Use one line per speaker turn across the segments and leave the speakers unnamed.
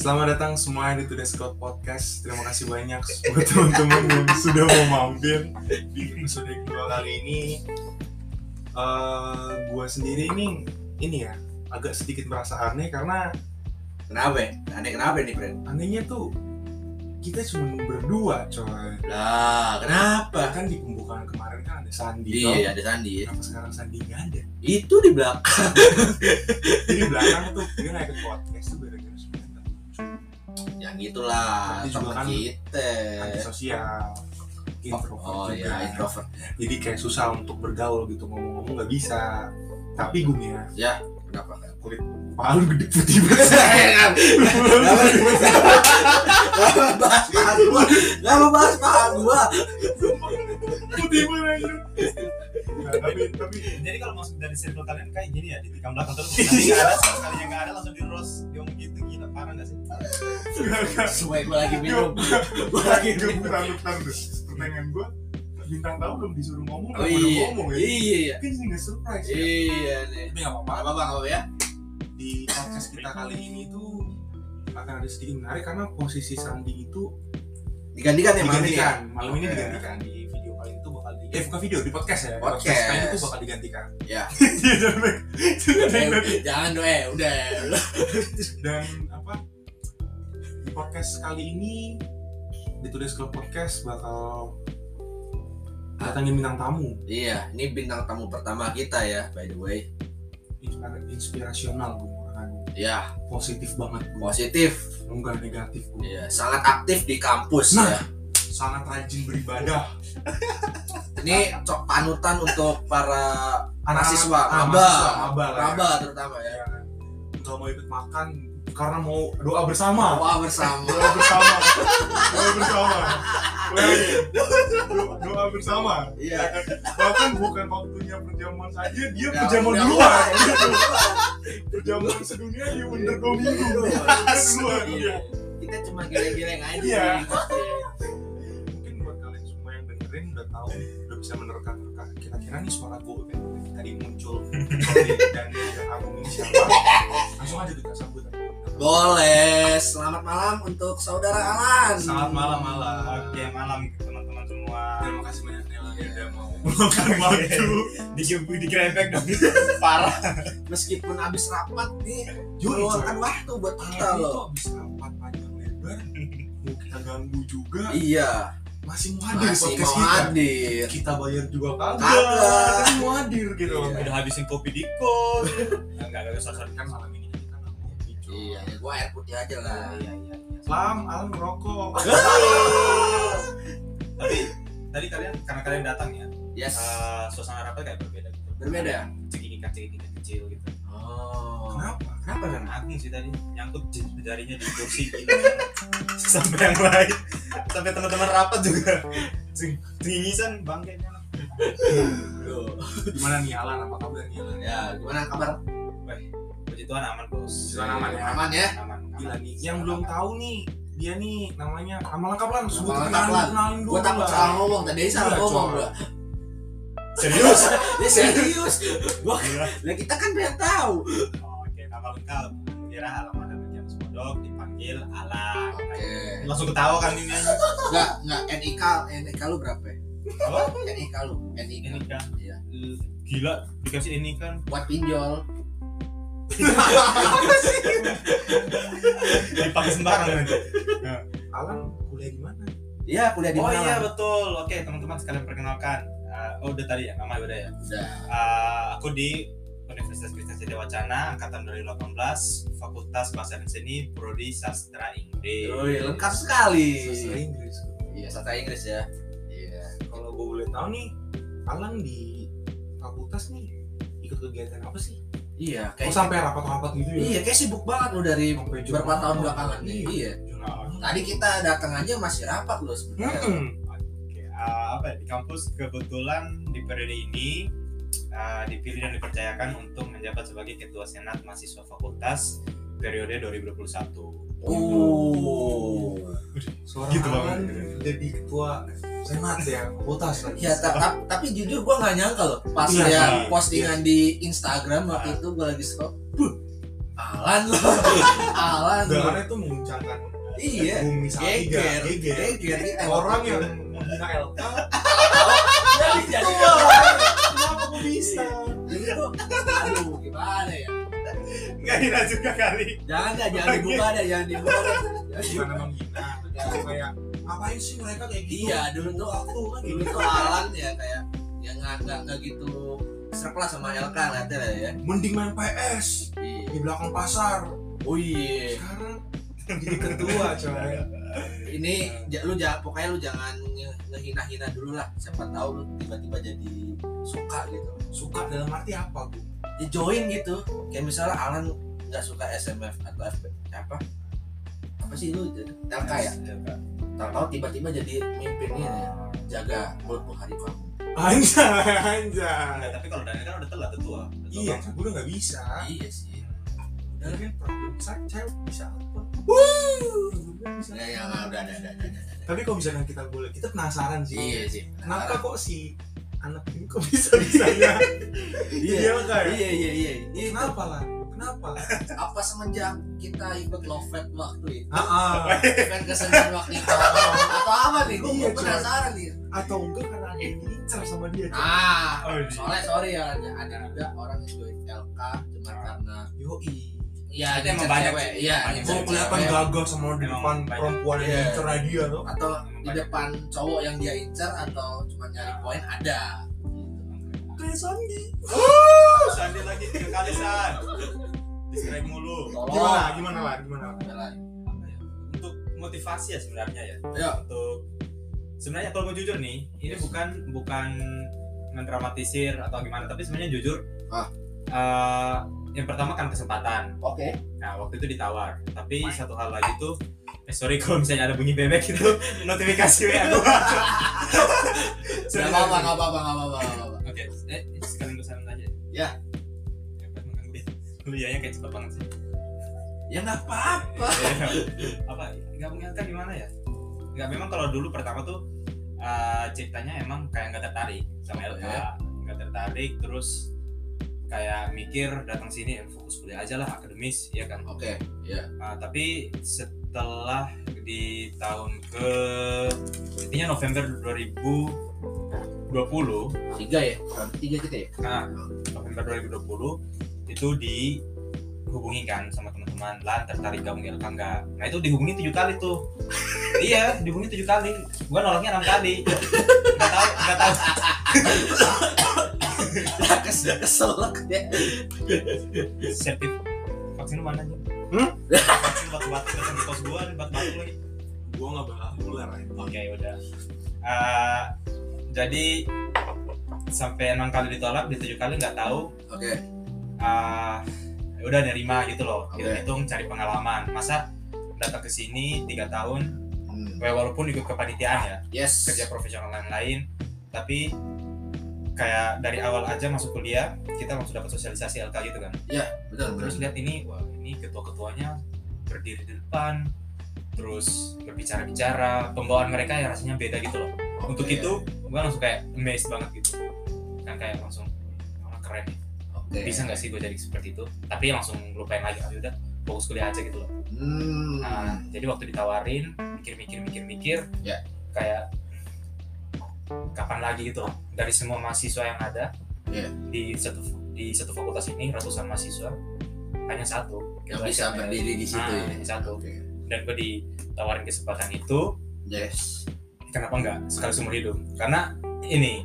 Selamat datang semua di Today's Cloud Podcast. Terima kasih banyak buat teman-teman yang sudah mau mampir di episode kedua kali ini. Eh, gua sendiri ini ini ya agak sedikit merasa aneh karena
Kenapa? ya? Aneh kenapa nih, Bren?
anehnya tuh kita cuma berdua coy.
Lah, kenapa?
Bahkan di pembukaan kemarin kan ada Sandi. toh.
Iya, ada Sandi.
Kenapa sekarang Sandi nggak ada?
Itu di belakang.
Jadi belakang tuh dia naik ke podcast tuh gara-gara sebenarnya
Yang itulah,
Tapi juga
Ya, teman
kan
kita.
antisosial, introvert
Iya. Oh
juga.
iya, introvert.
jadi kayak susah untuk bergaul gitu ngomong-ngomong nggak bisa tapi gue ya
Ya, kenapa? Kenapa?
kulit palu gede putih banget
Iya, kan? Gak mau bahas paha gua. Gak mau bahas paha gua.
putih banget anjir. Nah, tapi tapi
Jadi kalau masuk dari circle kalian kayak gini ya, ditikam belakang terus. Nanti nggak ada sama sekali yang nggak ada langsung di roast. Dia mau gitu gila parah nggak sih?
Sesuai gua lagi minum. Gua lagi
gue
minum.
bukan bukan pertanyaan gue bintang tahu belum disuruh ngomong
Oh,
udah pada
iya,
ngomong ya
iya, iya.
kan jadi nggak surprise ya
Iya nih.
tapi nggak apa-apa
Apa apa apa ya?
di podcast kita kali ini tuh akan ada sedikit menarik karena posisi Sandi itu
Digantikan ya malam ini ya?
digantikan malam ini
Oke.
digantikan di video kali itu bakal di eh bukan video di podcast ya Di
Podcast.
kali itu bakal digantikan
Ya.
Iya, jangan- jangan-
Eh, Jangan doa, udah.
dan apa di podcast kali ini di Today's Club Podcast bakal datangin bintang tamu
Iya, ini bintang tamu pertama kita ya, by the way.
Inspira- inspirasional gue
Ya,
positif banget gue
positif.
enggak negatif gue
Iya, sangat aktif di kampus
Nah.
ya.
sangat rajin beribadah
Ini cok panutan untuk para
Anak-anak-
mahasiswa,
ah,
maba,
mahasiswa, maba lah ya.
maba terutama ya.
Ya kan? nggak mau ikut makan karena mau doa bersama
Wah bersama.
doa bersama doa bersama Lagi. Do- doa bersama
Iya.
Ya kan? bahkan bukan waktunya perjamuan saja dia
Ya,
perjamuan
udah.
duluan perjamuan sedunia dia under dua minggu duluan
Iya.
Iya.
Kita cuma geleng-geleng aja.
Iya.
Pasti.
mungkin buat kalian semua yang dengerin udah tahu udah bisa menerka-nerka kira-kira nih suara gue kayak tadi muncul dan dan Agung ini siapa langsung aja kita sambut
Boleh. Selamat malam untuk saudara Alan.
Selamat malam malam
Oke malam teman-teman semua.
terima kasih banyak Nela yang udah mau meluangkan waktu
Di di krepek dong. Parah.
Meskipun habis rapat nih,
Yoi, Iya, gitu.
meluangkan waktu buat kita
Kalau itu
loh.
habis rapat panjang lebar, mau kita ganggu juga,
Iya,
masih mau hadir
masih
podcast
mau
kita. Iya.
hadir.
Kita bayar juga kagak,
Kagak.
tapi mau hadir gitu.
Iya.
Udah habisin kopi di kos. Enggak enggak usah
Kan malam ini kita nggak mau kopi, cuy.
Iya, ya gua air putih aja lah.
Iya iya.
Lam, alam rokok.
Tapi tadi kalian karena kalian datang ya,
Yes.
Uh,
eh, suasana rapat kayak berbeda gitu.
Berbeda ya?
Cekikikan cekikikan kecil gitu.
Oh.
Kenapa?
Kenapa kan?
Kan Agung sih tadi nyangkut j- jarinya di kursi gitu sampai yang lain sampai teman-teman rapat juga tingisan bangkainya lah
Gimana nih Alan? Apa kabar nih Alan?
Ya, gimana kabar?
puji Tuhan aman bos
Tuhan aman ya?
Aman ya?
aman
Gila nih. Yang belum tahu nih, dia nih namanya nama lengkap Lan. Sebut
Nama lengkap,
kenalin,
Lan.
kenalin dulu.
Gua takut
Lan.
salah ngomong, tadi salah
Iya,
ngomong
coy.
gua.
serius
Ini serius. Gua
Gila.
lah kita kan pengen tahu.
Oh, oke nama lengkap kira halaman dan jam sepodok dipanggil Alan
Oke.
langsung ketawa kan ini
Enggak, enggak NIK, NIK lu berapa? ya?
Apa?
NIK lu, NIK.
ini kan
Iya.
eh, gila dikasih ini kan
Buat pinjol.
dipakai sembarang nanti
Alan kuliah di mana?
Iya, kuliah di
oh
mana?
iya
Lan?
betul oke teman-teman sekalian perkenalkan Eh, oh udah tadi ya nama udah ya
Udah.
Eh, aku di Universitas Kristen Setia Wacana angkatan 2018 Fakultas Bahasa dan Seni Prodi Sastra Inggris.
Yoi, lengkap sekali.
Sastra Inggris.
Iya, sastra Inggris ya. Iya.
Kalau gue boleh tahu nih, Alan di fakultas nih ikut kegiatan apa sih?
Iya,
Oh
kayak
sampai rapat-rapat gitu ya?
Iya, kayak sibuk banget lu dari
Sampai jam
beberapa tahun
malam.
belakangan nih.
Iya.
Iya.
Jurnal. Hmm.
Tadi kita datang aja masih rapat loh sebenarnya.
Mm-mm.
Oke, eh, apa ya, di kampus kebetulan di periode ini eh, dipilih dan dipercayakan untuk menjabat sebagai Ketua Senat Mahasiswa Fakultas periode 2021.
Oh.
Suara
Gitu
Alan
banget.
jadi ketua senat ya, fakultas lagi.
Ya, ta- ta- tapi jujur gua nggak nyangka loh pas
Iya,
ya
sih.
postingan di Instagram waktu itu gua lagi scroll. Buh, Alan lo Alan lo
Gerakannya tuh menguncangkan
Iya.
bumi salatiga
Geger,
geger.
geger iya. kita
Orang yang menghina LK
jadi jadi
Wah, Kenapa kok
Iya.
bisa?
jadi tuh aduh gimana ya
Enggak hina juga kali.
jangan dah jangan dibuka deh jangan dibuka deh. Jangan
Bukan
dibuka.
menghina Kayak ngapain sih mereka kayak gitu
iya dulu tuh
Waktu kan
dulu tuh Alan ya kayak yang nggak nggak nggak gitu serap lah sama LK nanti lah ya
Mending main PS
Iya.
Di belakang pasar
oh iya
Sekarang jadi ketua coy Iya,
ini ja- lu jangan pokoknya lu jangan nge- ngehina-hina dulu lah siapa tahu lu tiba-tiba jadi suka gitu
Suka dalam arti apa gue?
ya join gitu kayak misalnya Alan nggak suka SMF atau FB apa apa sih lu LK ya
Iya,
tahu-tahu tiba-tiba jadi mimpinnya
Oh.
ya. jaga mulut hari kamu
Anjay, anjay
Tapi kalau Daniel kan udah telat udah tua. Udah tua
Iya,
banget.
gue udah gak bisa
iya sih
Udah kan problem saya cewek bisa apa? Bisa.
ya ya nggak, udah ada ada ada ada, ada.
Tapi kok bisa kan kita boleh? Kita penasaran sih.
iya sih
Kenapa kok si anak ini kok bisa ya? bisanya?
iya
kan?
iya iya iya Ini
Kenapa lah? Kenapa?
apa semenjak kita ikut Lovet waktu itu
Ah, ah.
event kesenian waktu itu atau apa nih gue
Iya, coy.
penasaran nih
atau enggak karena ada yang incer sama dia? coy.
ah
Oh, iya.
soalnya sorry ya ada ada juga orang yang join LK cuma
Ah.
karena
Yoi.
ya
Itu Iya, emang banyak sih.
ya
Banyak
Kok kelihatan gagah sama di
Emang
depan
banyak.
perempuan yang
Iya.
incer dia tuh?
atau di depan cowok yang dia incer atau cuma nyari poin ada
Kayak Sandi.
Oh, Sandi lagi tiga kali San. Distract mulu.
Gimana?
tolong
Gimana lah? Gimana lah?
Udah lah.
Untuk motivasi ya sebenarnya ya.
ayo
Untuk sebenarnya kalau mau jujur nih, ini bukan bukan mendramatisir atau gimana, tapi sebenarnya jujur.
Ah.
eh, yang pertama kan kesempatan.
oke
Nah, waktu itu ditawar. Tapi satu hal lagi tuh eh, sorry kalau misalnya ada bunyi bebek itu notifikasi WA gua.
nggak
Sorry,
apa-apa
sorry.
nggak apa-apa nggak apa-apa nggak apa-apa
Oke, eh, sekalian gue saran aja.
Ya.
Ya, kan mengganggu ya. Lu iyanya kayak cepat banget sih.
ya nggak apa-apa
Iya. Apa? Gak mengingatkan gimana ya? Gak memang kalau dulu pertama tuh eh, ceritanya emang kayak nggak tertarik sama LK,
Oke.
nggak tertarik, terus kayak mikir datang sini ya fokus kuliah aja lah akademis ya kan
oke ya
Ah, tapi setelah di tahun ke intinya November 2020
tiga ya tiga kita ya
Nah, November 2020 itu dihubungi kan sama teman-teman lan tertarik gabung LK enggak nah itu dihubungi tujuh kali tuh iya dihubungi tujuh kali gua nolaknya enam kali nggak tahu nggak tahu
kesel keselak ya
sertif vaksin lu mana nih
Hmm?
vaksin batu-batu vaksin di kos gua nih, batu-batu lagi
Gua nggak bakal keluar.
Oke udah. Eh, jadi sampai enam kali ditolak, di tujuh kali nggak tahu.
oke
eh, ya udah nerima gitu loh. Kita
Oke.
hitung cari pengalaman. Masa datang ke sini tiga tahun, ya walaupun ikut kepanitiaan ya,
Hmm. yes
kerja profesional lain-lain, tapi kayak dari awal aja masuk kuliah kita langsung dapat sosialisasi LK gitu kan.
betul betul
Terus lihat ini, wah ini ketua-ketuanya berdiri di depan, terus berbicara-bicara, pembawaan mereka ya rasanya beda gitu loh untuk
Oke.
itu gue langsung kayak amazed banget gitu kan kayak langsung "Wah, keren nih.
oke
bisa nggak sih gue jadi seperti itu tapi langsung lupain lagi oh, udah fokus kuliah aja gitu loh
hmm
Nah, jadi waktu ditawarin mikir-mikir mikir-mikir
Ya.
kayak kapan lagi gitu loh dari semua mahasiswa yang ada
Ya.
di satu di satu fakultas ini ratusan mahasiswa hanya satu
yang
Gitu
bisa
aja.
berdiri di situ
Ah,
ya
yang satu.
oke
dan gue ditawarin kesempatan itu
yes
kenapa enggak sekali seumur hidup karena ini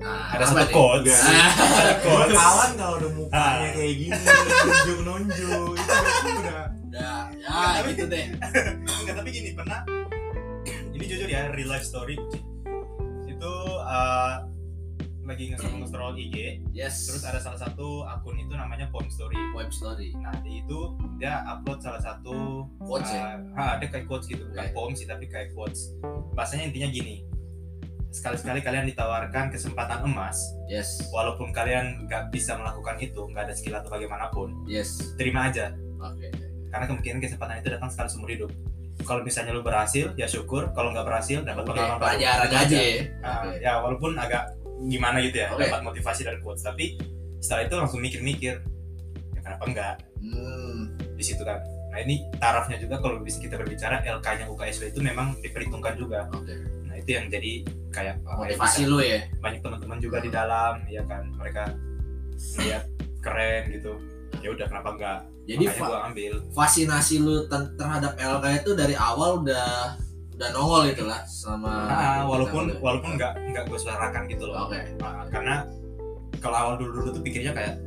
nah
ada
apa
satu
nih?
quotes
Enggak.
Ah,
ada
Gua
quotes
kawan kalau udah mukanya
Ah.
kayak gini, nunjuk-nunjuk, itu udah
udah ya gitu deh
Enggak, tapi gini pernah ini jujur ya real life story itu uh, lagi nge-scroll nge-scroll IG
yes
terus ada salah satu akun itu namanya Pom Story
web story
nah di itu dia upload salah satu
quotes ya Iya,
uh, ha, ada kayak quotes gitu bukan
Oke.
poem sih tapi kayak quotes bahasanya intinya gini sekali-sekali kalian ditawarkan kesempatan emas
yes
walaupun kalian nggak bisa melakukan itu nggak ada skill atau bagaimanapun
yes
terima aja
oke
karena kemungkinan kesempatan itu datang sekali seumur hidup kalau misalnya lu berhasil ya syukur kalau nggak berhasil dapat
oke
pengalaman baru.
pelajaran aja ya
Ah,
Oke.
ya walaupun agak gimana gitu ya
Oke.
dapat motivasi dari quotes tapi setelah itu langsung mikir-mikir ya kenapa enggak
hmm
situ kan nah ini tarafnya juga kalau bisa kita berbicara LK nya UKSW itu memang diperhitungkan juga
Oke.
nah itu yang jadi kayak apa ya,
Motivasi lu ya.
banyak teman-teman juga di dalam ya kan mereka melihat keren gitu ya udah kenapa enggak
Jadi
makanya
fa-
gua ambil
fasinasi lu ten- terhadap LK itu dari awal udah udah nongol gitu lah selama
Nah, walaupun
kita udah-
walaupun enggak enggak gue suarakan gitu loh
Oke.
Nah, karena kalau awal dulu dulu tuh pikirnya kayak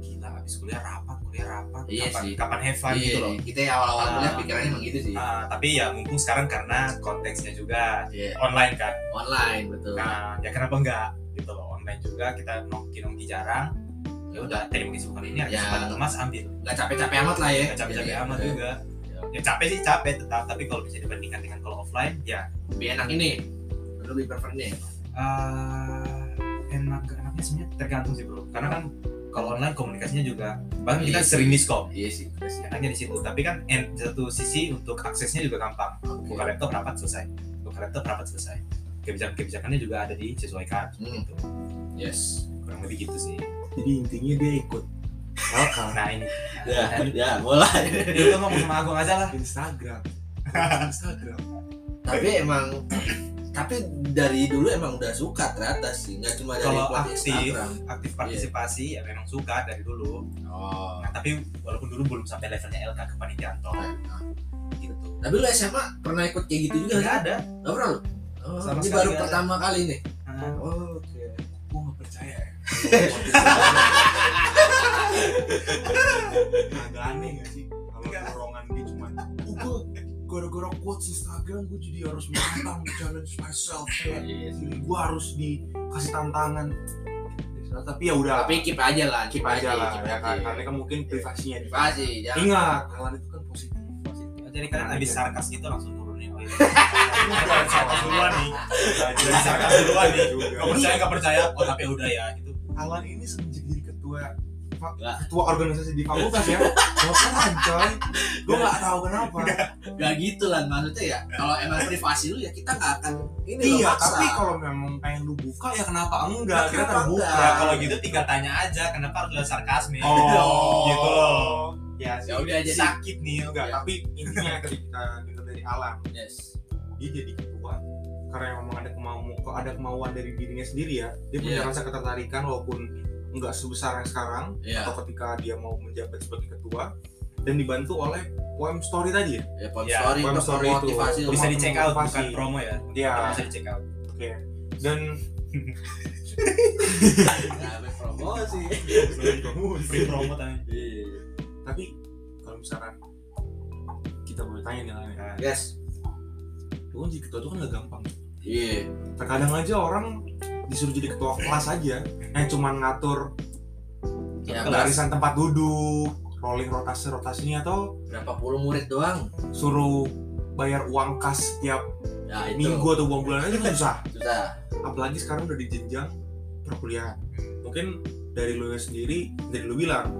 gila abis kuliah rapat kuliah rapat
Iya
kapan
sih.
kapan have fun
Iya,
gitu loh
kita awal-awal
Ah.
kuliah pikirannya emang gitu sih.
Ah, tapi ya mumpung sekarang karena konteksnya juga
Iya,
online kan
online betul.
nah ya kenapa enggak gitu loh online juga kita nongki nongki jarang ya udah terima kesibukan ini ada
Ya.
kesempatan emas ambil
Gak capek-capek amat lah ya.
nggak capek-capek
Jadi,
amat
eh,
juga
Ya.
ya capek sih capek tetap tapi kalau bisa dibandingkan dengan kalau offline ya
Lebih enak ini. Lu lebih prefer nih.
eh, enak gak enaknya sebenarnya tergantung sih bro karena kan kalau online komunikasinya juga bahkan kita
Iya sih.
sering miskom
Iya sih.
enaknya di situ tapi kan en- di satu sisi untuk aksesnya juga gampang buka
Oke.
laptop rapat selesai buka laptop rapat selesai kebijakan kebijakannya juga ada disesuaikan
Hmm.
gitu.
Yes.
kurang lebih gitu sih
Jadi intinya dia ikut.
Oke.
nah ini
Ya,
nah, ini-
ya mulai.
ya udah ngomong sama Agung aja lah
Instagram Instagram
tapi emang tapi dari dulu emang udah suka ternyata sih nggak cuma dari
Kalau
buat
aktif.
Instagram
aktif partisipasi ya memang suka dari dulu
oh
Nah, tapi walaupun dulu belum sampai levelnya LK kepanitiaan toh gitu.
tapi lu SMA pernah ikut kayak gitu juga
Enggak
nggak
ada.
nggak pernah lu oh,
Sama
ini
sekali
baru
nggak ada.
pertama kali nih
Nah,
oh, oke
gue nggak percaya ya agak aneh gak sih kalau
Nggak.
dorongan dia cuma "Uh, gua gara-gara quotes Instagram gue jadi harus menantang challenge myself ya jadi gue harus dikasih tantangan tapi ya udah
tapi keep aja lah
keep aja lah
keep
ya
aja. Iya.
kan karena kan mungkin privasinya dia
privasi jangan
ingat kalian itu kan positif
jadi kalian
Nah,
habis
iya.
sarkas gitu langsung turunin. Oh, iya.
Bukan, salah
duluan nih. Jadi sarkas duluan nih. Gak percaya gak percaya. Oh tapi udah ya gitu.
Alan ini semenjak jadi ketua fa-
Nggak.
ketua organisasi di fakultas ya bosan coy gue nggak tahu kenapa
nggak gitu lah maksudnya ya kalau emang privasi lu ya kita nggak akan ini loh,
iya
maksa.
tapi kalau memang pengen lu buka ya kenapa enggak kita
Kenapa
terbuka
enggak?
Nah, kalau gitu tinggal tanya aja kenapa harus lewat sarkas nih.
Iya. oh
gitu loh.
ya sih
ya udah jadi
sakit nih enggak
Ya.
tapi intinya ketika dengar dari Alan
yes
dia jadi ketua karena memang ada kemauan ada kemauan dari dirinya sendiri ya dia punya
Iya.
rasa ketertarikan walaupun enggak sebesar yang sekarang
ya
atau ketika dia mau menjabat sebagai ketua dan dibantu oleh WM Story tadi ya.
ya pop
Ya,
story
pop
untuk
story itu.
memotivasi lu.
Bisa di check out
Motivasi.
bukan promo ya.
Iya.
Tapi Bisa di check out.
Oke. Dan
Nggak ada Iya, promosi
Oh, Free promo tadi.
tapi kalau misalkan kita boleh tanya nih Lan, ya.
Nah,
yes
Lu kan jadi ketua itu kan gak gampang.
iya
Terkadang aja orang disuruh jadi ketua kelas aja yang cuman ngatur
ya baris
barisan tempat duduk, rolling rotasi rotasinya atau
berapa puluh murid doang
suruh bayar uang kas tiap
ya itu
minggu atau uang bulanan itu kan susah.
susah
apalagi sekarang udah di jenjang perkuliahan mungkin dari lu sendiri dari lu bilang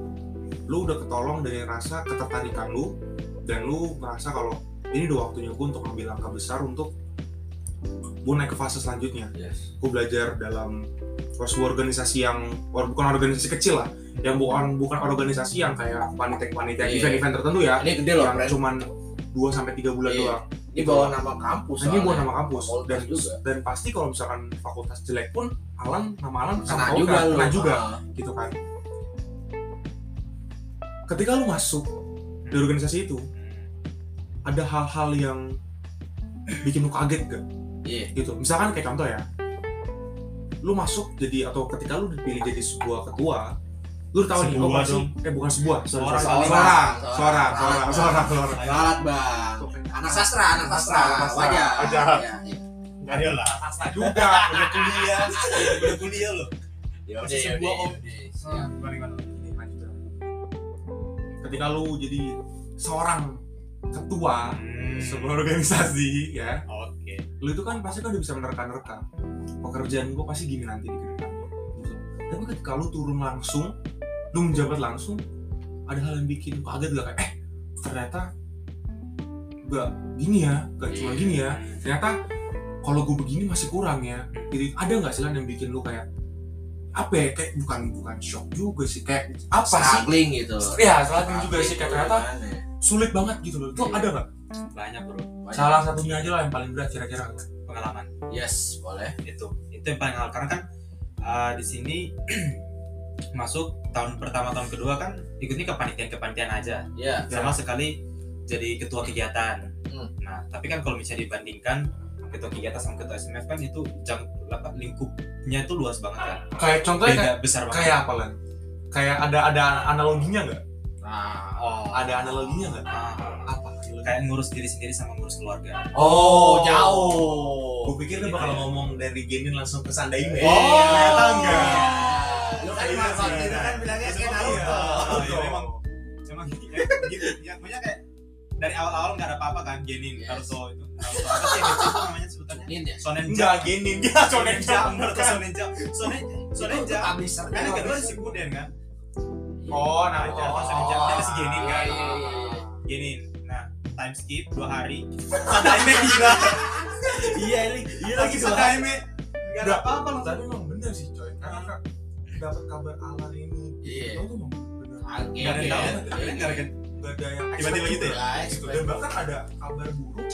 lu udah ketolong dari rasa ketertarikan lu dan lu merasa kalau ini udah waktunya gue untuk ambil langkah besar untuk gue naik ke fase selanjutnya
yes
gue belajar dalam sebuah organisasi yang or- bukan organisasi kecil lah yang bukan bukan organisasi yang kayak panitia panitia
Iya.
event-event tertentu ya
ini gede loh
yang
friend
cuman 2 sampai 3 bulan
Iya.
doang
ini bawa nama kampus
hanya buat
soalnya.
Gitu. nama kampus
Fakultas
dan
juga.
dan pasti kalau misalkan fakultas jelek pun Alan nama Alan
kena
sama Oka,
juga lu
kena juga
Ah,
gitu kan ketika lu masuk di
kan
organisasi itu
Hmm.
ada hal-hal yang bikin lu kaget gak
iya
gitu misalkan kayak contoh ya lu masuk jadi atau ketika lu dipilih jadi sebuah ketua lu udah tahu nih oh
Sebuah
pasti eh bukan sebuah sorry,
Seorang.
sorry.
Seorang.
seorang seorang
Seorang.
Ah,
seorang seorang
Barat bang anak sastra anak sastra
Anak sastra,
wajar
wajar.
Ya, ya.
Ayo lah.
Asta juga udah kuliah
Udah kuliah loh.
ya
Masih
udah ya
sebuah
udah, ya
om.
udah.
Ya,
Siap.
gimana, gimana? Ini lanjut ya. ketika lu jadi seorang ketua
Hmm.
sebuah organisasi ya
Oke.
lu itu kan pasti kan udah bisa menerka-nerka pekerjaan gua pasti gini nanti di kedepannya gitu. tapi ketika lu turun langsung lu menjabat langsung ada hal yang bikin lu kaget gak kayak eh ternyata gak gini ya gak cuma gini ya ternyata kalau gue begini masih kurang ya jadi ada nggak sih Lan, yang bikin lu kayak apa ya kayak bukan bukan shock juga sih kayak apa sih
struggling gitu kan,
ya salah juga sih kayak ternyata
Struggling,
sulit banget gitu loh itu
Iya.
ada nggak
banyak bro
Banyak.
salah satunya aja lah yang paling berat kira-kira apa?
pengalaman
yes boleh
itu itu yang paling awal karena kan uh, di sini masuk tahun pertama tahun kedua kan ikutnya kepanitiaan kepanitiaan aja
ya
sama sekali jadi ketua kegiatan
Hmm.
nah tapi kan kalau misalnya dibandingkan ketua kegiatan sama ketua SMF kan itu jam apa, lingkupnya itu luas banget kan
kayak contohnya kayak,
beda besar banget
kayak apa lah kayak ada ada analoginya nggak
nah
oh
ada analoginya nggak
ah.
apa
kayak ngurus diri sendiri sama ngurus keluarga
oh
gue
jauh
pikir lu bakal ngomong dari genin langsung ke sandaime
Oh,
ternyata enggak
Lu kan
Iya,
masak,
iya.
lu kan bilangnya kayak
Iya.
Naruto.
Oh, iya,
Betul.
memang. cuma ya, gitu ya punya kayak dari awal-awal nggak ada apa-apa kan genin
Yes.
Naruto itu Naruto apa sih yang itu namanya sebutannya
Nin ya?
Sonen
enggak
Jump
genin dia
Sonen Jump Naruto
bukan.
Sonen Jump Sonen Sonen
Itu
Jump
publisher.
kan yang kedua si Buden kan
oh Naruto
Oh,
Sonen Jump.
Dia masih genin
Iya,
kan?
iya, iya, iya.
genin nah time skip dua hari sadaime gila
iya ini iya
lagi sadaime nggak ada
Nggak.
apa-apa loh
tapi emang bener sih coy karena dapat kabar alan ini
Iya.
itu emang bener
Kaget,
nggak ada yang tahu tapi
kaget.
nggak ada
nggak ada yang
Tiba-tiba gitu ya?
Guys,
gitu dan bahkan ada kabar buruk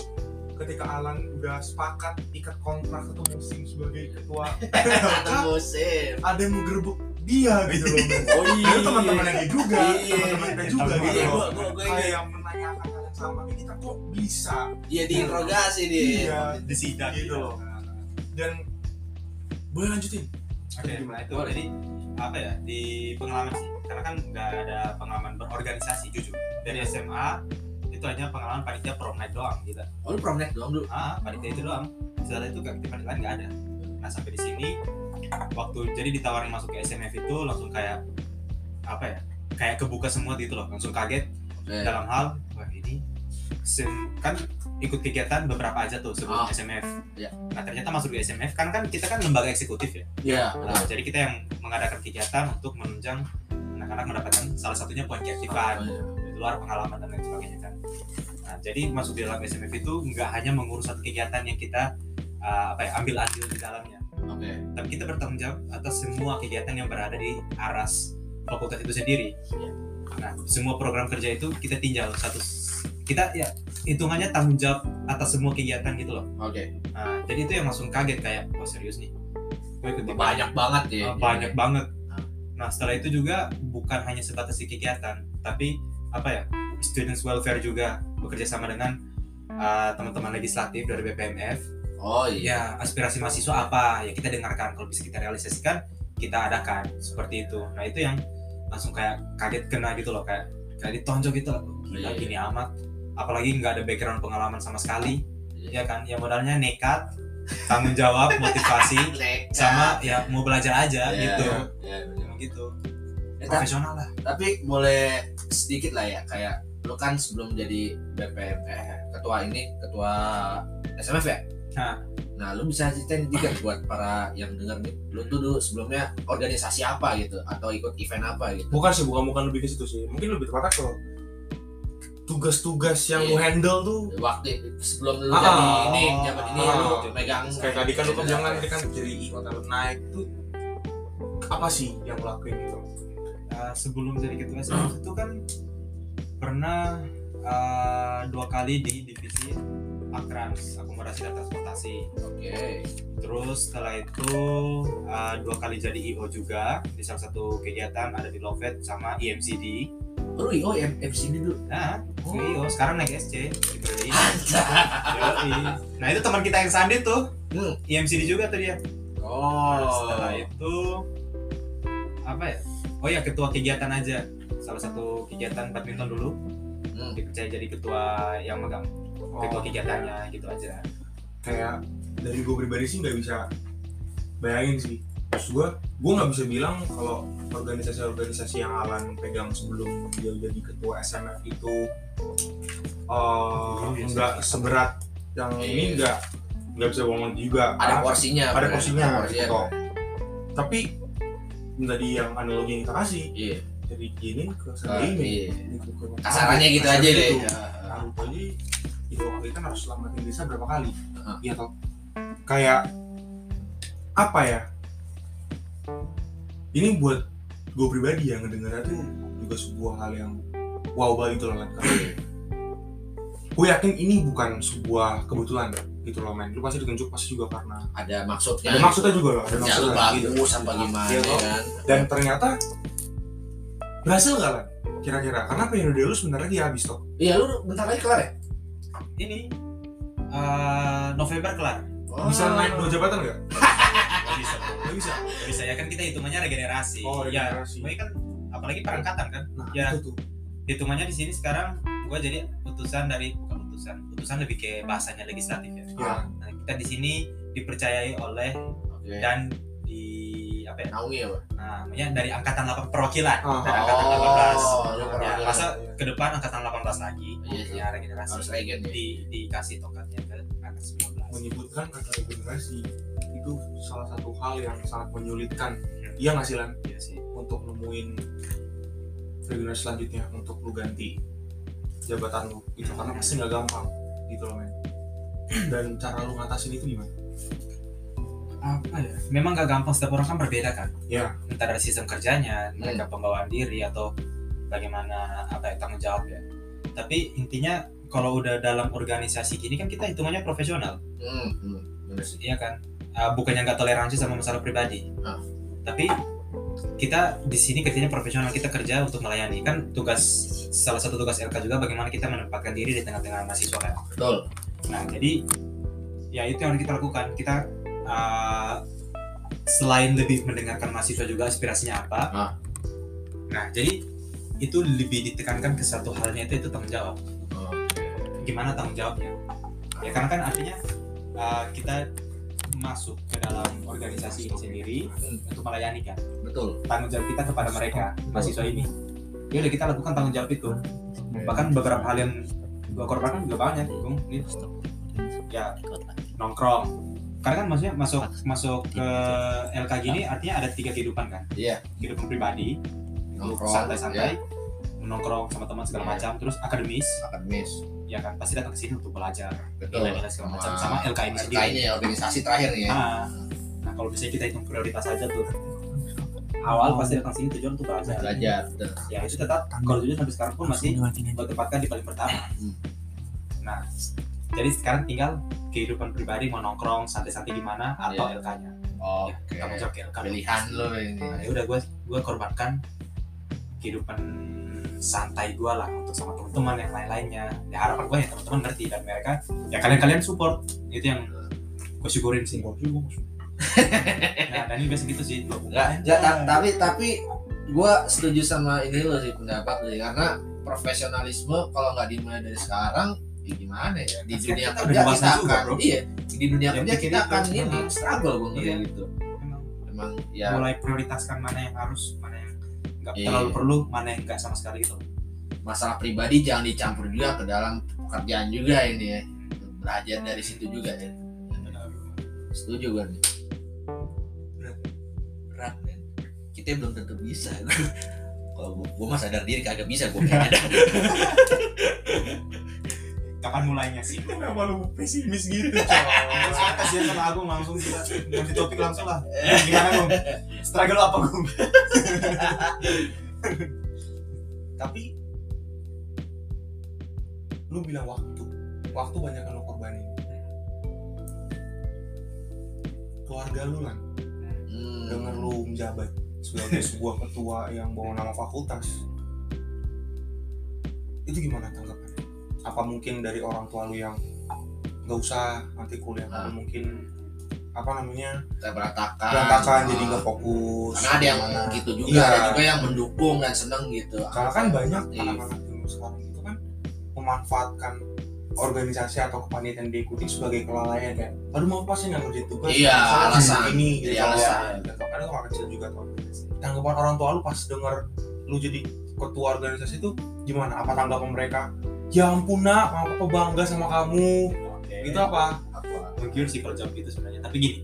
ketika Alan udah sepakat ikat kontrak satu musim sebagai ketua
Satu musim.
ada yang ngegerbek dia gitu loh men.
Oh
dan teman-temannya dia juga
Iya.
teman-teman kita juga
Iya,
gitu
gua
loh
gua gua
kayak
ini.
yang menanyakan hal yang sama ini kita kok bisa
Dia diinterogasi
Iya,
dia.
disidak
gitu loh dan boleh lanjutin
oke nah itu jadi apa ya di pengalaman sih karena kan nggak ada pengalaman berorganisasi jujur dari SMA itu hanya pengalaman panitia prom night doang gitu
Oh, lu prom night doang dulu.
ah panitia itu doang setelah itu keaktifan lain nggak ada nah sampai di sini waktu jadi ditawarin masuk ke SMF itu langsung kayak apa ya kayak kebuka semua gitu loh langsung kaget
Oke.
dalam hal wah ini sem- kan ikut kegiatan beberapa aja tuh sebelum
Ah.
SMF.
Iya.
Nah ternyata masuk di SMF kan kan kita kan lembaga eksekutif ya.
Iya,
Nah, jadi kita yang mengadakan kegiatan untuk menunjang anak-anak mendapatkan salah satunya poin keaktifan, di luar pengalaman dan lain sebagainya kan. Nah jadi masuk di dalam SMF itu nggak hanya mengurus satu kegiatan yang kita uh, apa ya ambil andil di dalamnya,
Oke.
tapi kita bertanggung jawab atas semua kegiatan yang berada di aras fakultas itu sendiri.
Iya.
Nah, semua program kerja itu kita tinjau satu kita ya hitungannya tanggung jawab atas semua kegiatan gitu loh.
Oke.
Nah, jadi itu yang langsung kaget kayak wah serius nih. Gue ikut di-
Banyak banget ya.
Ah, banyak banget. Nah, setelah itu juga bukan hanya sebatas di kegiatan, tapi apa ya? Students welfare juga bekerja sama dengan uh, teman-teman legislatif dari BPMF
Oh iya.
ya aspirasi mahasiswa apa ya kita dengarkan kalau bisa kita realisasikan kita adakan seperti itu nah itu yang langsung kayak kaget kena gitu loh kayak kayak ditonjok gitu loh gila
Iya, iya.
gini amat apalagi nggak ada background pengalaman sama sekali
Iya.
ya kan ya modalnya nekat tanggung jawab motivasi
Nekat.
sama ya mau belajar aja
Iya,
gitu
iya, bener.
Emang gitu
Eh, tapi-
profesional lah
tapi boleh sedikit lah ya kayak lu kan sebelum jadi BPM eh, ketua ini ketua SMF ya
Hah.
nah lu bisa ceritain juga buat para yang dengar nih lu tuh dulu sebelumnya organisasi apa gitu atau ikut event apa gitu
bukan sih bukan bukan lebih ke situ sih mungkin lebih tepatnya kalau tugas-tugas yang
Iya.
lu handle tuh
waktu sebelum lu
Ah,
jadi ini jabat ini
ah,
lu
ah.
megang
kayak tadi kan lu
Iya,
kebilang kan
iya.
tadi kan jadi kota naik tuh apa sih yang lo lakuin gitu
Oh.
Uh, sebelum jadi ketua SMF itu kan pernah uh, dua kali di divisi akrans akomodasi dan transportasi
oke
Terus setelah itu uh, dua kali jadi IO juga di salah satu kegiatan ada di Lovet sama IMCD.
lu IO M- MCD dulu
Nah,
Oh.
IO sekarang naik SC di periode ini. Yoi. Nah itu teman kita yang Sandi tuh,
Hmm.
IMCD juga tuh dia.
oh
Nah, setelah itu apa ya? Oh ya ketua kegiatan aja. Salah satu kegiatan badminton dulu
Hmm.
dipercaya jadi ketua yang megang
Oh.
ketua kegiatannya gitu aja.
kayak dari gue pribadi sih nggak bisa bayangin sih terus gue gue nggak bisa bilang kalau organisasi-organisasi yang Alan pegang sebelum dia jadi ketua SMF itu eh,
Iya,
nggak seberat yang ini nggak nggak bisa ngomong juga
Iya. ada porsinya
ada
bener.
porsinya
Ada
gitu. tapi tadi yang analogi yang kita kasih
iya
dari gini ke
Ah,
sendiri
iya.
Gitu.
kasarannya gitu aja
Kasarnya
deh
gitu. Naruto ini itu waktu itu kan harus selamatin desa berapa kali
Heeh.
iya toh kayak apa ya ini buat ya,
Iya.
gue pribadi yang ngedengarnya tuh juga sebuah hal yang wow banget gitu loh Lan. Karena gue yakin ini bukan sebuah kebetulan gitu loh men lu pasti ditunjuk pasti juga karena
ada maksudnya
ada maksudnya juga loh ada
ya lu
maksudnya gitu.
bagus apa gimana
Iya,
ya
loh.
kan
dan ternyata berhasil gak lah kira-kira karena periode lu sebenarnya dia habis tuh
iya lu bentar lagi kelar ya
ini eh, November kelar
Oh.
bisa naik dua jabatan gak?
Gak bisa
Gak bisa.
Gak bisa ya kan kita hitungannya regenerasi
Oh, regenerasi.
ya gue kan apalagi perangkatan kan
Nah,
Ya.
itu tuh.
hitungannya di sini sekarang gue jadi utusan dari bukan utusan utusan lebih ke bahasanya legislatif ya
Ya.
nah, kita di sini dipercayai oleh
Oke.
dan di apa ya
naungi ya Pak?
namanya dari angkatan 8 perwakilan
Oh.
dari angkatan
Oh, lu
18 ya,
perwakilan.
masa ke depan angkatan 18 lagi
Iya, iya.
ya regenerasi
Harus Oh, regen,
Iya.
ya.
di dikasih tongkatnya ke angkatan 19
menyebutkan kata regenerasi itu salah satu hal yang sangat menyulitkan iya nggak sih Lan
Iya sih
untuk nemuin regenerasi selanjutnya untuk lu ganti jabatan lu gitu karena pasti nggak gampang gitu loh men dan cara lu ngatasin itu gimana
apa ya memang gak gampang setiap orang kan berbeda kan
Iya.
entah dari sistem kerjanya
Iya.
mereka pembawaan diri atau bagaimana apa ya tanggung jawab ya tapi intinya kalau udah dalam organisasi gini kan kita hitungannya profesional
Hmm, hmm, bener sih.
iya kan Eh, bukannya nggak toleransi sama masalah pribadi
Ah.
tapi kita di sini kerjanya profesional kita kerja untuk melayani kan tugas salah satu tugas LK juga bagaimana kita menempatkan diri di tengah-tengah mahasiswa kan
betul
Nah, jadi ya itu yang harus kita lakukan. Kita uh, selain lebih mendengarkan mahasiswa juga aspirasinya apa.
Ah.
Nah, jadi itu lebih ditekankan ke satu halnya itu itu tanggung jawab.
Oh,
Gimana tanggung jawabnya? Ya karena kan artinya uh, kita masuk ke dalam organisasi ini sendiri
Hmm,
untuk melayani kan
betul
tanggung jawab kita kepada mereka mahasiswa ini. Ya udah kita lakukan tanggung jawab itu bahkan beberapa hal yang gua korbankan juga banyak Bung. ini ya nongkrong karena kan maksudnya masuk masuk ke LK gini artinya ada tiga kehidupan kan
Iya.
kehidupan pribadi lu
Nongkrong, ya.
santai-santai nongkrong sama teman segala
Iya.
macam terus akademis
akademis
ya kan pasti datang ke sini untuk belajar
betul
nilai-nilai segala macam sama LK ini sendiri
LKI-nya ya organisasi terakhir nih ya
Ah.
nah, nah kalau bisa kita hitung prioritas aja tuh awal pasti datang sini tujuan untuk belajar
belajar betul.
Iya.
ya itu tetap kalau jujur sampai sekarang pun masih gue tempatkan di paling pertama
Hmm.
nah jadi sekarang tinggal kehidupan pribadi mau nongkrong santai-santai gimana atau
Iya.
LK-nya
oke
kamu jawab ke LK
Ya. pilihan lo ini
Nah, ya udah gue gue korbankan kehidupan santai gue lah untuk sama teman-teman yang lain-lainnya ya harapan gue ya teman-teman ngerti dan mereka ya kalian-kalian support itu yang gue syukurin sih nah dan ini biasa gitu sih dua
Enggak, enggak, ta- tapi tapi gua setuju sama ini lo sih pendapat lo ya. karena profesionalisme kalau nggak dimulai dari sekarang ya gimana ya di dunia
Kan kita
kerja
udah
kita
dewasa juga,
akan
bro.
iya di dunia
Yang
kerja
pikir
kita
itu,
akan ini
memang.
struggle gue ngeliat
Iya.
gitu
Emang
emang ya
mulai prioritaskan mana yang harus mana yang nggak
Iya.
terlalu perlu mana yang nggak sama sekali gitu
masalah pribadi jangan dicampur juga ke dalam pekerjaan juga ini ya belajar dari situ juga ya setuju gue nih berat berat men kita belum tentu bisa kalau gua- gua mah sadar diri kagak bisa gua kayaknya dah.
kapan mulainya sih
kenapa lu pesimis gitu
Soalnya kasihan ya sama Agung langsung kita ganti topik langsung lah gimana Agung struggle apa Agung
tapi lu bilang waktu waktu banyak yang lu korbanin keluarga lu lah
Hmm.
dengan lu menjabat sebagai sebuah ketua yang bawa nama fakultas itu gimana tanggapannya apa mungkin dari orang tua lu yang nggak usah nanti kuliah
Ah.
kamu mungkin apa namanya
Kita berantakan
berantakan
Ah.
jadi nggak fokus
karena ada yang
gimana.
gitu juga
Iya.
ada juga yang mendukung dan seneng gitu
karena kan banyak
Iya.
anak-anak dulu sekarang itu kan memanfaatkan organisasi atau kepanitiaan yang diikuti sebagai kelalaian kan aduh mau pas nggak ngerjain tugas
Iya,
misalnya gitu
alasan.
ini
Iya, alasan.
Dan kadang itu orang kecil juga tuh tanggapan orang tua lu pas denger lu jadi ketua organisasi itu gimana apa tanggapan mereka ya ampun nak mama papa bangga sama kamu itu apa
apa
mungkin sih kalau jawab gitu sebenarnya tapi gini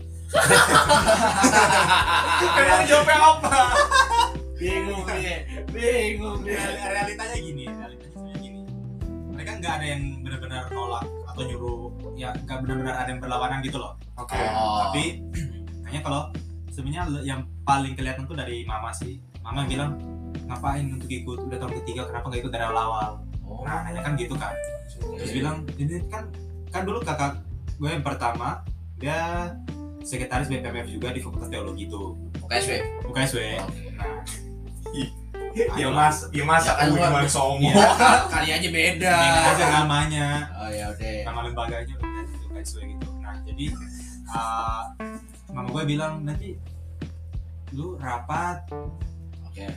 Iya.
kayak jawabnya apa
bingung nih bingung nih realitanya gini realitanya sebenarnya gini mereka nggak ada yang benar-benar nolak atau nyuruh ya nggak benar-benar ada yang berlawanan gitu loh
oke
Oh.
tapi hanya kalau sebenarnya le- yang paling kelihatan tuh dari mama sih mama bilang ngapain untuk ikut udah tahun ketiga kenapa nggak ikut dari awal awal
Oh.
nah nanya kan gitu kan terus bilang ini kan kan dulu kakak gue yang pertama dia sekretaris BPMF juga di Fakultas Teologi itu
KSW.
"Eh."
UKSW nah
ya mas ya masa
Ya kan,
aku
gua-
cuma
Iya,
sombong
kali- kali aja beda.
Nengok aja namanya
Oh ya udah.
nama lembaganya udah gitu UKSW gitu nah jadi eh, mama gue bilang nanti lu rapat
Oke.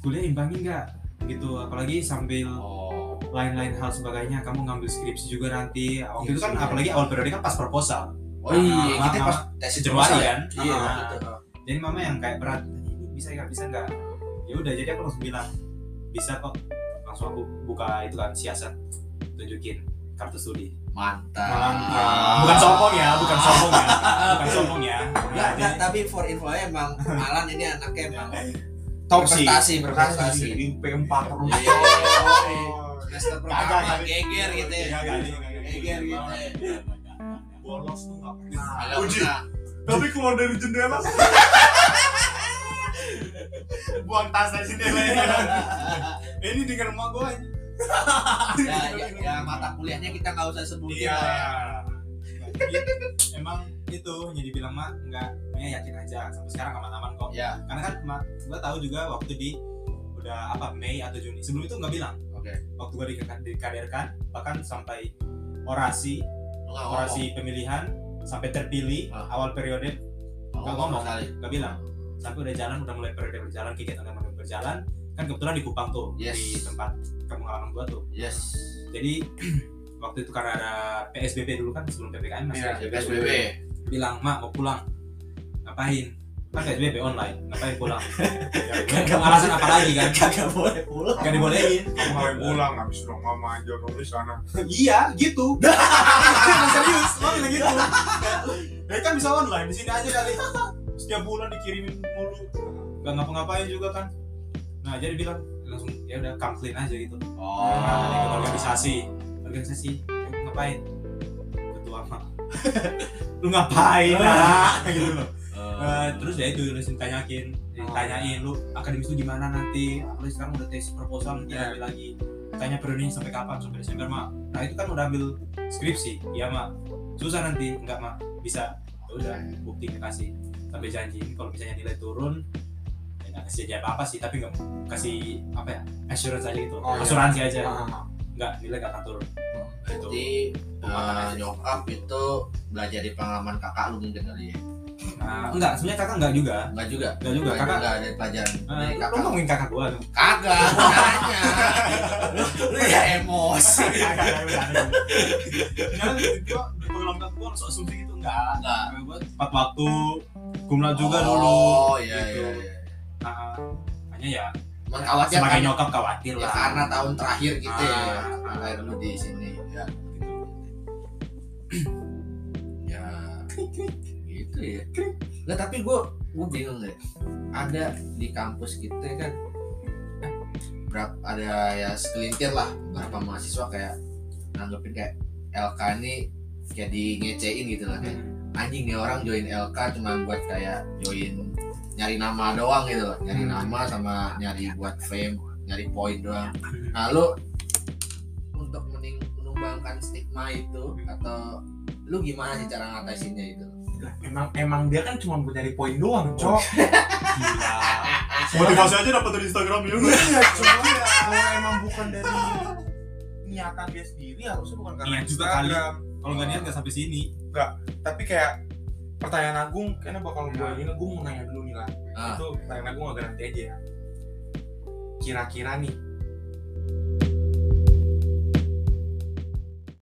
kuliah imbangin nggak gitu apalagi sambil
Oh.
lain-lain hal sebagainya kamu ngambil skripsi juga nanti waktu itu kan
Iya.
apalagi awal periode kan pas proposal
Oh
Nah,
iya,
Mama,
kita pas tes
Januari
proposal
kan?
Iya,
Ah.
gitu.
jadi mama yang kayak berat ini bisa nggak bisa nggak ya udah jadi aku langsung bilang bisa kok langsung aku buka itu kan siasat tunjukin kartu studi
Mantap.
Mantap.
Ah.
bukan sombong ya bukan sombong ya bukan sombong ya
Nggak,
Nah,
nggak,
jadi-
tapi for info aja emang Alan ini anaknya emang
top sih
berprestasi, berprestasi.
prestasi di P4 terus
Iya, iya, iya. Semester
Kagak,
pertama
kagak.
geger gitu ya.
Nggak, nggak, nggak, nggak, nggak.
Geger gitu ya.
bolos tuh nggak pernah
Agak
Uji.
pernah.
tapi keluar dari jendela buang tas dari jendela ya. ini di rumah gue
Ya, ya, ya, mata kuliahnya kita nggak usah sebutin
Iya.
lah ya.
Jadi, emang itu jadi bilang mak nggak Mia yakin aja sampai sekarang aman-aman kok
Ya,
karena kan mak gue tahu juga waktu di udah apa Mei atau Juni sebelum itu nggak bilang
oke.
waktu gue dikaderkan bahkan sampai orasi
Nggak
orasi pemilihan sampai terpilih
Oh. Ah.
awal periode nggak ngomong.
sekali.
nggak bilang sampai udah jalan udah mulai periode berjalan kegiatan udah mulai berjalan kan kebetulan di Kupang tuh
Yes.
di tempat kampung halaman gue tuh
Yes.
jadi waktu itu karena ada PSBB dulu kan sebelum PPKM masih
Iya,
ada
PSBB.
bilang mak mau pulang ngapain kan PSBB online ngapain pulang
Kagak
Gak alasan apa lagi kan
Kagak boleh pulang.
gak dibolehin
kamu ngapain pulang habis dong mama aja nulis sana
iya gitu Emang Kan serius lo bilang gitu ya kan bisa online di sini aja kali setiap bulan dikirimin mulu gak ngapa-ngapain juga kan nah jadi bilang langsung ya udah come clean aja gitu Nah, ikut organisasi organisasi "Eh, ngapain ketua mah lu ngapain lah gitu loh Eh, terus ya itu lu ditanyakin ditanyain lu akademis lu gimana nanti lu sekarang udah tes proposal nanti ambil lagi tanya periodenya sampai kapan sampai Desember mak nah itu kan udah ambil skripsi ya mak susah nanti enggak mak bisa Ya udah bukti kasih sampai janji Ini kalau misalnya nilai turun ya nggak kasih janji apa apa sih tapi nggak kasih apa ya assurance aja gitu
Oh, iya.
asuransi aja
Ah,
nggak nilai nggak akan turun gitu
Jadi eh, nyokap itu belajar di pengalaman kakak lu mungkin kali ya.
nah, enggak sebenarnya kakak enggak juga
Enggak juga.
enggak juga kakak
enggak ada pelajaran
eh,
dari
lu
Iya, kakak.
ngomongin kakak gua tuh
Kagak, gua nanya. Lu- Lu ya emosi.
Jangan tiba-tiba di pengelolaan gue langsung asumsi gitu enggak.
Enggak.
Gue tepat waktu, kumlat juga
oh,
dulu.
Oh iya
gitu.
iya iya.
Nah, hanya ya
Cuman khawatir
sebagai
kan-
nyokap khawatir
ya,
lah.
karena tahun terakhir gitu ya.
Ah, ah.
Lahir lu di sini ya.
Gitu.
Ya gitu ya. Enggak tapi gua gua bingung deh. Ada di kampus kita kan berapa ada ya sekelintir lah beberapa mahasiswa kayak nanggepin kayak LK ini kayak di ngecein gitu lah kayak anjing nih orang join LK cuma buat kayak join nyari nama doang gitu loh nyari
Hmm.
nama sama nyari buat fame nyari poin doang nah lu untuk mening- menumbangkan stigma itu atau lu gimana sih cara ngatasinnya itu
lah, emang emang dia kan cuma buat nyari poin doang cok
Gila.
Motivasi
aja dapat dari Instagram ya.
iya cuma kalau emang bukan dari niatan dia sendiri harusnya bukan karena
Niat juga kali.
Instagram
Kalau enggak niat enggak sampai sini.
tapi kayak pertanyaan Agung kayaknya bakal gue ini Agung mau nanya dulu nih lah
Ah.
itu pertanyaan Agung agak nanti aja ya kira-kira nih